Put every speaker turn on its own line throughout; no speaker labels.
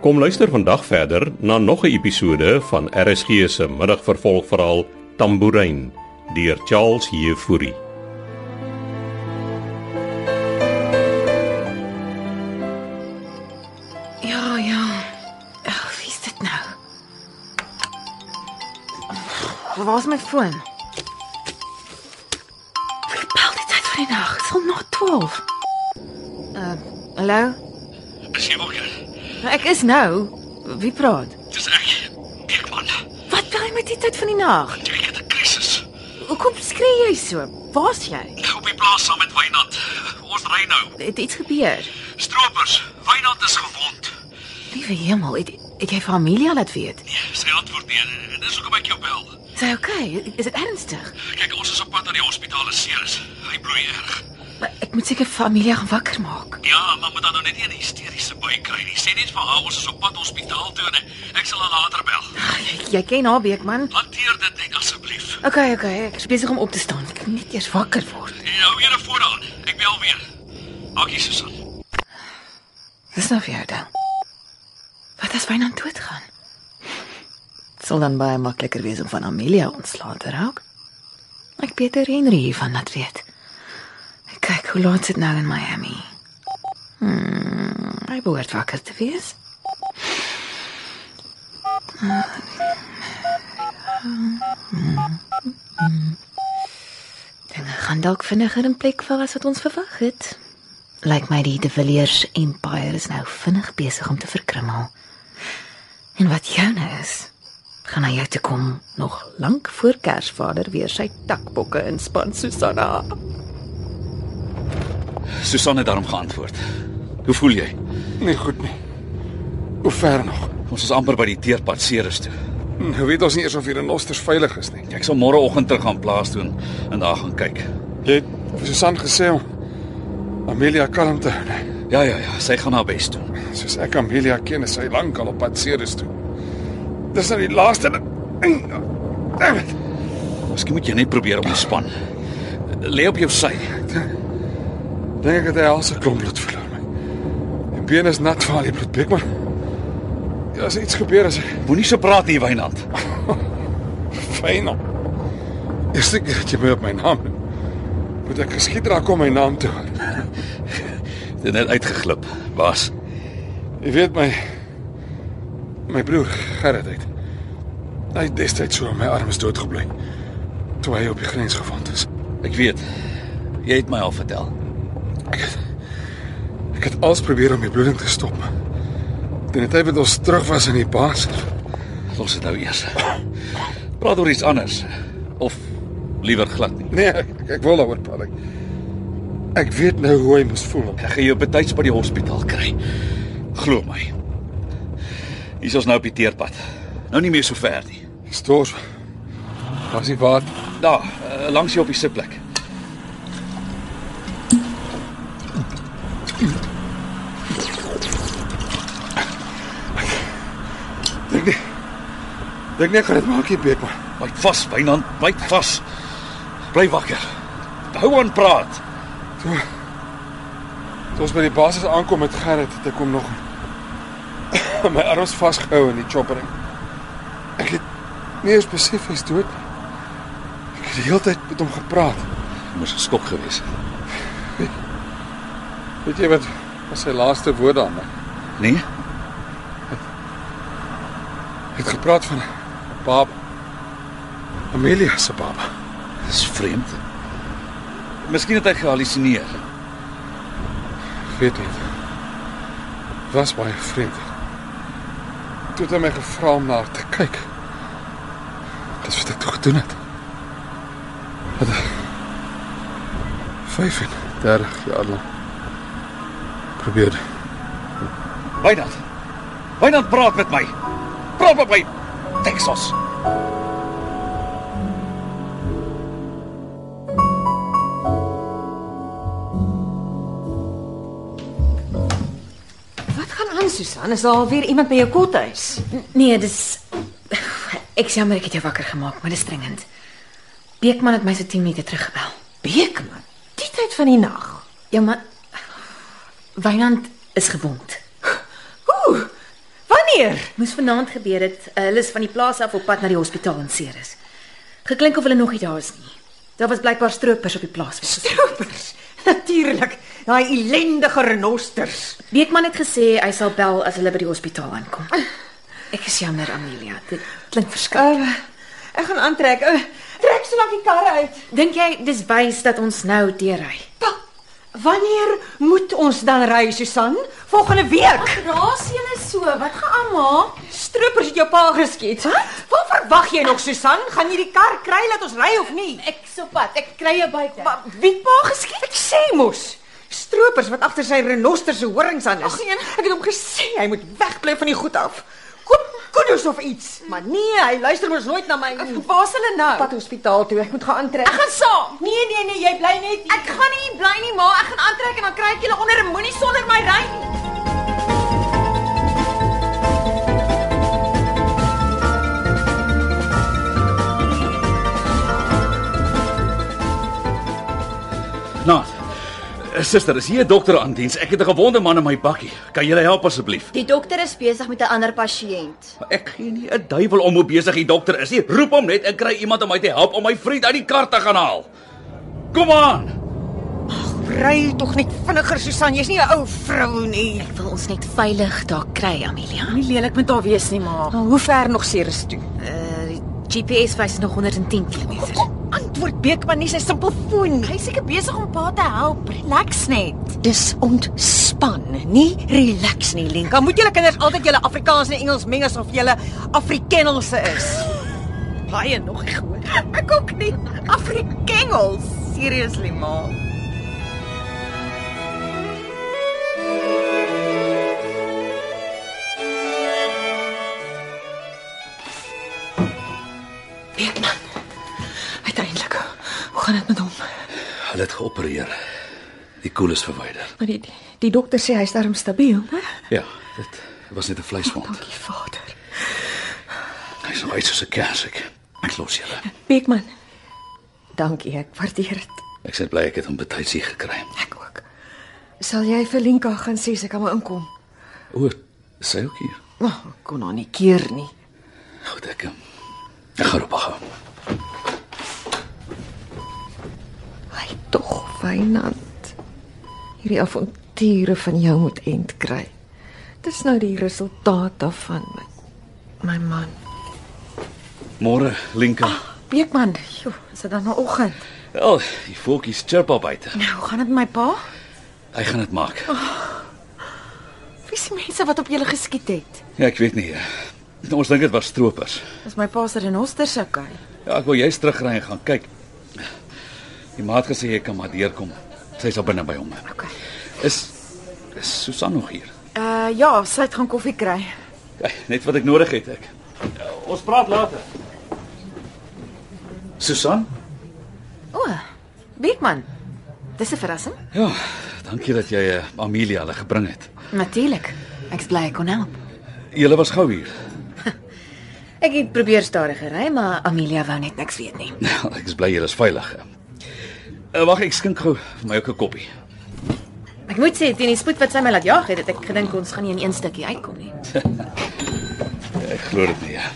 Kom luister vandag verder na nog 'n episode van RSG se middagvervolgverhaal Tambourine deur Charles Jefouri.
Ja, ja. Ag, wie is dit nou? Waar is my foon? Wie bel die tyd van die nag? Dit is al na 12. Uh, hallo?
Is jy wakker?
Ek is nou. Wie praat?
Dis ek. Ek man.
Wat bel jy met die tyd van die nag?
Ek het 'n krisis. Nou
Hoekom skree jy so? Waar's jy?
Op die plaas saam met Wynand. Ons ry nou.
Het iets gebeur?
Stroopers, Wynand is gewond.
Liewe hemel, het, het jy vir Amelia laat weet?
Nee, sy antwoord nee. Dis hoekom ek jou bel.
Is hy okay? Is dit ernstig?
Kyk, ons is op pad na die hospitaal in Ceres. Hy bloei erg.
Maar Ek moet seker vir Amelia gaan wakker maak.
Ja, maar moet dan nou net nie 'n hysteriese bui kry nie. Sê net vir haar ons is op pad hospitaal toe en ek- ek sal haar later bel.
Ag, Jy, jy ken haar beek man.
Hanteer dit net asseblief.
Okay, okay, ek is besig om op te staan. Ek moet net eers wakker word.
En Hou weer vooraan. Ek bel weer. Dankie, Susan.
Dis nou vir jou dan. Wat as Wynand doodgaan? Het Sal dan baie makliker wees om van Amelia ontslae te raak. Ek Peter Henry hiervan laat weet. Ek kyk hoe laat dit nou in Miami. Hmm, hy behoort wakker te wees. Dinge gaan dalk vinniger in plek val as wat ons verwag het. Lyk my die De Villiers Empire is nou vinnig besig om te verkrummel. En wat joune is, gaan hy jou toe kom nog lank voor Kersvader weer sy takbokke inspan Susanna.
Susan het daarom geantwoord. Hoe voel jy?
Nee, goed nie. Hoe ver nog?
Ons is amper by die teerpad Ceres toe.
Nou weet ons nie eers of hier in Osters veilig is nie.
Ek sal môreoggend terug gaan plaas toe en, en daar gaan kyk.
Jy het vir Susan gesê om Amelia kalm te hou. nee.
Ja ja ja, sy gaan haar bes doen.
Soos ek Amelia ken, is sy lankal op pad Ceres toe. Dis nou die laaste ding. Damn it.
Miskien moet jy net probeer ontspan. eh, Lê op jou sy.
Dink ek het hy al se klomp bloed verloor my. En been is nat van al die bloedbek, maar ja, as iets gebeur as ek
Moenie so praat hier, Wynand.
fyn op. Is dit dat jy my op my naam noem? moet ek geskiet raak om my naam te hoor?
Dit het net uitgeglip, baas.
Jy weet my my broer Gerrit het. Hy het destyds so aan my arms doodgebly toe hy op die grens gevind is.
Ek weet. Jy het my al vertel.
Ek het alles probeer om die bloeding te stop. Toe net hy met ons terug was in die baas.
Los dit nou eers. Praat oor iets anders of liewer glad nie.
Nee, ek, ek wil daaroor praat. Ek, ek weet nou hoe hy moes voel.
Ek gaan jou betyds by die hospitaal kry. Glo my. Hier is ons nou op die teerpad. Nou nie meer so ver nie.
Stors. Was hy waar?
Daar, eh, langs jou op die sitplek.
Dink nie. Dink nie Gerrit maak nie beek man.
Byt vas, Wynand, byt vas. Bly wakker. Hou aan praat.
Toe ons by die basis aankom met Gerrit, het ek hom nog my arms vasgehou in die chopper. Ek- Ek het nie eens besef hy's dood nie. Ek het die hele tyd met hom gepraat.
Jy moes geskok gewees het.
Weet jy wat was sy laaste woorde aan my?
Nee?
Hy het gepraat van Baba. Amelia se baba.
Dis vreemd. Miskien het hy gehallusineer.
Ek weet nie. Het Was baie vreemd. Toe het hy my gevra om na haar te kyk. Dis wat ek toe gedoen het. Wat 35 jaar lank probeer.
Wynand. Wynand praat met my. Praat met my. Texas.
Wat gaan aan, Susan? Is daar alweer iemand by jou kothuis?
Nee, dis ek is jammer ek het jou wakker gemaak, maar dis dringend. Beekman het my so 10 minute terug gebel.
Beekman, die tyd van die nag.
Ja, maar Wynand is gewond.
Ooh, gebeur?
Moes vanaand gebeur het. Uh, Hulle is van die plaas af op pad na die hospitaal in Ceres. Geklink of hulle nog nie daar is nie. Daar was blykbaar stroopers op die plaas.
Stroopers. Natuurlik, daai ellendige renosters.
Beekman het gesê hy sal bel as hulle by die hospitaal aankom. Ek is jammer Amelia, dit klink verskriklik.
Uh, ek gaan aantrek. Uh, trek so lank die karre uit.
Dink jy dis wys dat ons nou deurry?
Pa, wanneer moet ons dan ry, Susan? Volgende week.
Raas julle so, wat gaan aan maak?
Stroopers het jou pa geskiet. Wat? Wat verwag jy nog, Susan? Gaan jy die kar kry dat ons ry of nie?
Ek sopat, ek kry 'n byt.
Maar wie het pa geskiet? Ek sê mos. Stroopers wat agter sy renoster se horings aan is. Ag, ek het hom gesê hy moet wegbly van die goed af. Koop kudos of iets. Maar nee, hy luister mos nooit na my nie.
Waar's hulle nou?
Pad hospitaal toe. Ek moet gaan aantrek.
Ek gaan saam.
Nee nee nee, jy bly net hier.
Ek gaan nie bly nie, ma. Ek gaan aantrek en dan kry ek julle onder 'n moenie sonder my ry nie.
Nou, suster, is hier 'n dokter aan diens. Ek het 'n gewonde man in my bakkie. Kan jy help asseblief?
Die dokter is besig met 'n ander pasiënt.
Maar Ek gee nie 'n duiwel om hoe besig die dokter is nie. Roep hom net en kry iemand om my te help om my vriend uit die kar te gaan haal. Kom aan.
Ry tog net vinniger, Susan. Jy's nie 'n ou vrou nie.
Ek wil ons net veilig daar kry, Amelia.
Nie lelik met haar wees nie, ma.
Nou, hoe ver nog Ceres toe?
Uh, die GPS wys nog 110 km.
Antwoord Beekman nie sy simpelfoon nie.
Hy's seker besig om pa te help. Relax net.
Dis ontspan, nie relax nie, Lenka. Moet julle kinders altyd julle Afrikaans en Engels meng asof julle Afrikanelse is? Baie nog nie gehoor.
Ek ook nie. Afrikengels. Seriously, ma.
Beekman. Uiteindelik. Hoe gaan dit met hom?
Hulle het geopereer. Die koel is verwyder.
Maar die die dokter sê hy's darm stabiel, né?
Ja, dit was net 'n
Oh,
vleiswond.
Dankie, Vader.
Hy's nog uit soos 'n kers ek. Ek los julle.
Ja.
Beekman. Dankie, ek waardeer dit.
Ek sê bly ek het hom betyds hier gekry.
Ek ook. Sal jy vir Lenka gaan sê sy kan maar inkom?
O, sy ook hier.
Nou, oh, kon haar nie keer nie.
Goed ek. ehm, Ek gaan op haar.
Hy tog, Fynand. Hierdie avonture van jou moet eind kry. Dis nou die resultaat daarvan my my man.
Môre, Linka.
Ah. Beekman, joh, is dit dan nou oggend?
Wel, die voeltjies chirp al buite.
Nou, hoe gaan dit met my pa?
Hy gaan dit maak.
Wie se mense wat op julle geskiet het?
Ja, ek weet nie. eh, Ons dink dit was stroopers.
Is my pa se renoster soukei?
Ja, ek wil jy's terugry en gaan kyk. Die maat gesê jy kan maar deurkom. Sy's al binne by hom.
Okay.
Is is Susan nog hier?
Uh ja, sy het gaan koffie kry.
Kyk, net wat ek nodig het ek. Ja, Ons praat later. Susan?
O, Beekman. Dis 'n verrassing.
Ja, dankie dat jy eh, Amelia hulle gebring het.
Natuurlik. Ek's bly ek kon help.
Julle was gou hier.
Ek het probeer stadig gery, maar Amelia wou net niks weet nie.
Nou, ek is bly julle is veilig. Uh, Wag, ek skink gou vir my ook 'n koppie.
Ek moet sê teen die spoed wat sy my laat jag het, het ek gedink ons gaan nie in een stukkie uitkom nie.
Ek glo dit nie. ja.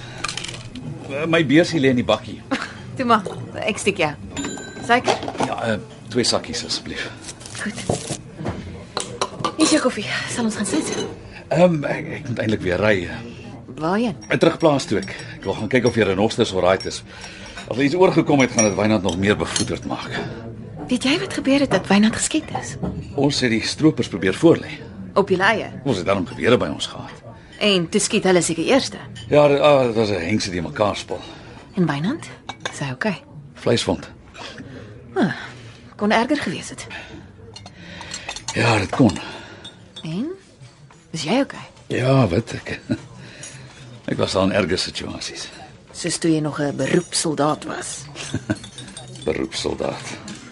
Eh, My beursie lê in die bakkie.
Toe maar, ek steek jou. Seker?
Ja, uh, twee sakkies asseblief.
Goed. Hier is jou koffie. Sal ons gaan sit?
Ehm um, ek, ek moet eintlik weer ry.
Waarheen?
Ek terugplaas toe ek. Ek wil gaan kyk of die renosters alright is. As hulle iets oorgekom het, gaan dit Wynand nog meer bevoederd maak.
Weet jy wat gebeur het dat Wynand geskiet is?
Ons het die stroopers probeer voorlê.
Op die leie.
Ons het daarom gewere by ons gehad.
En toe skiet hulle seker eerste.
Ja, dit, ah, dit was 'n hengse die mekaar spil.
En Wynand? Sy okay.
Vleiswond.
Kon erger gewees het.
Ja, dit kon.
En? Is jy okay?
Ja, weet ek. Ek was al in erge situasies.
Soos toe jy nog 'n beroepssoldaat was.
Beroepssoldaat.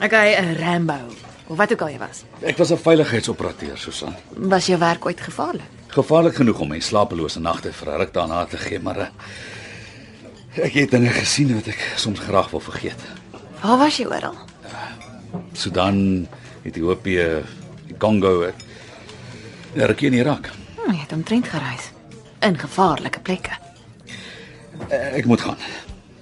Okay, 'n eh, Rambo of wat ook al jy was.
Ek was 'n veiligheidsoperateur, Susan.
Was jou werk ooit gevaarlik?
Gevaarlik genoeg om my slapelose nagte vir 'n ruk daarna te gee, maar eh, ek het dinge gesien wat ek soms graag wil vergeet.
Waar was jy oral?
Sudan, Ethiopië, die Kongo, eh, en rukkie in Irak.
Hm, jy het omtrent gereis. in gevaarlike plekke.
Eh, Ek moet gaan.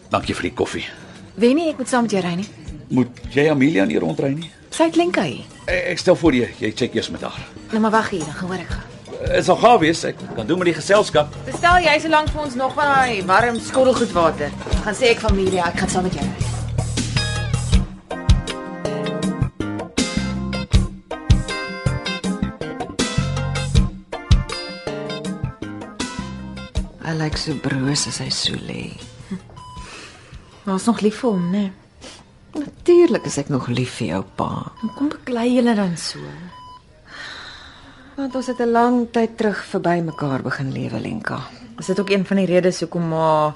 Dankie vir die koffie.
Wennie, ek moet saam met jou ry nie.
Moet jy Amelia nie rondry nie?
Sy klink hy.
Eh, Ek stel voor jy jy check eers met haar.
Nou maar wag hier, dan hoor ek gaan.
Eh, Dit sal gaaf wees. Ek kan doen met die geselskap.
Bestel jy solank vir ons nog van daai warm skottelgoedwater.
Dan gaan sê ek familie, ek gaan saam met jou ry.
Hy lyk so broos as hy so lê.
Ons nog lief vir hom, né?
Natuurlik is ek nog lief vir jou pa,
Kom beklei julle dan so.
want ons het 'n lang tyd terug verby mekaar begin lewe, Lenka.
Is dit ook een van die redes hoekom ma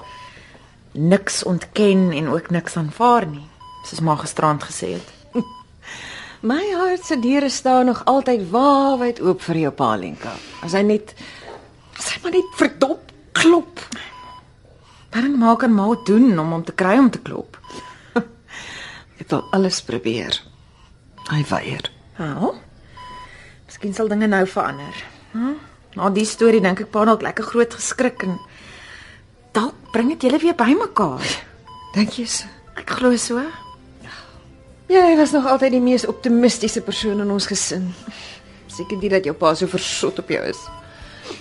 niks ontken en ook niks aanvaar nie, soos ma gisterand gesê het?
My hart se deure staan nog altyd waawyd oop vir jou pa, Lenka. As hy net as hy maar net verdop klop.
Wat maak en ma doen om hom te kry om te klop?
Ek wil alles probeer. Hy weier.
Nou. Miskien sal dinge nou verander. Hm? Na die storie dink ek pa dalk lekker groot geskrik en dalk bring dit julle weer bymekaar.
Dink jy so?
Ek glo so.
Jy Ja, was nog altyd die mees optimistiese persoon in ons gesin. Seker dit dat jou pa so versot op jou is.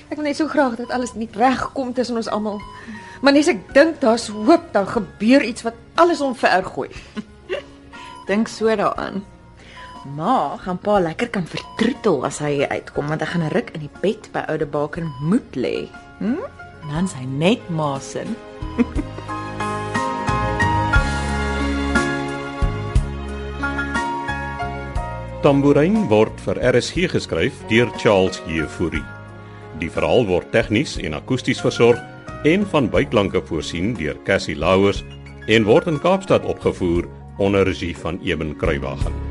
Ek wil net so graag dat alles net regkom tussen ons almal. Maar net as ek dink daar's hoop, dan gebeur iets wat alles omvergooi.
Dink so daaraan. Ma gaan pa lekker kan vertroetel as hy hier uitkom want hy gaan 'n ruk in die bed by oude Baker moet lê. Hm? En Dan is hy net ma sin.
Tambourine word vir RSG geskryf deur Charles Jefouri. Die verhaal word tegnies en akoesties versorg en van byklanke voorsien deur Cassie Lauers en word in Kaapstad opgevoer onder regie van Eben Kruiwagen.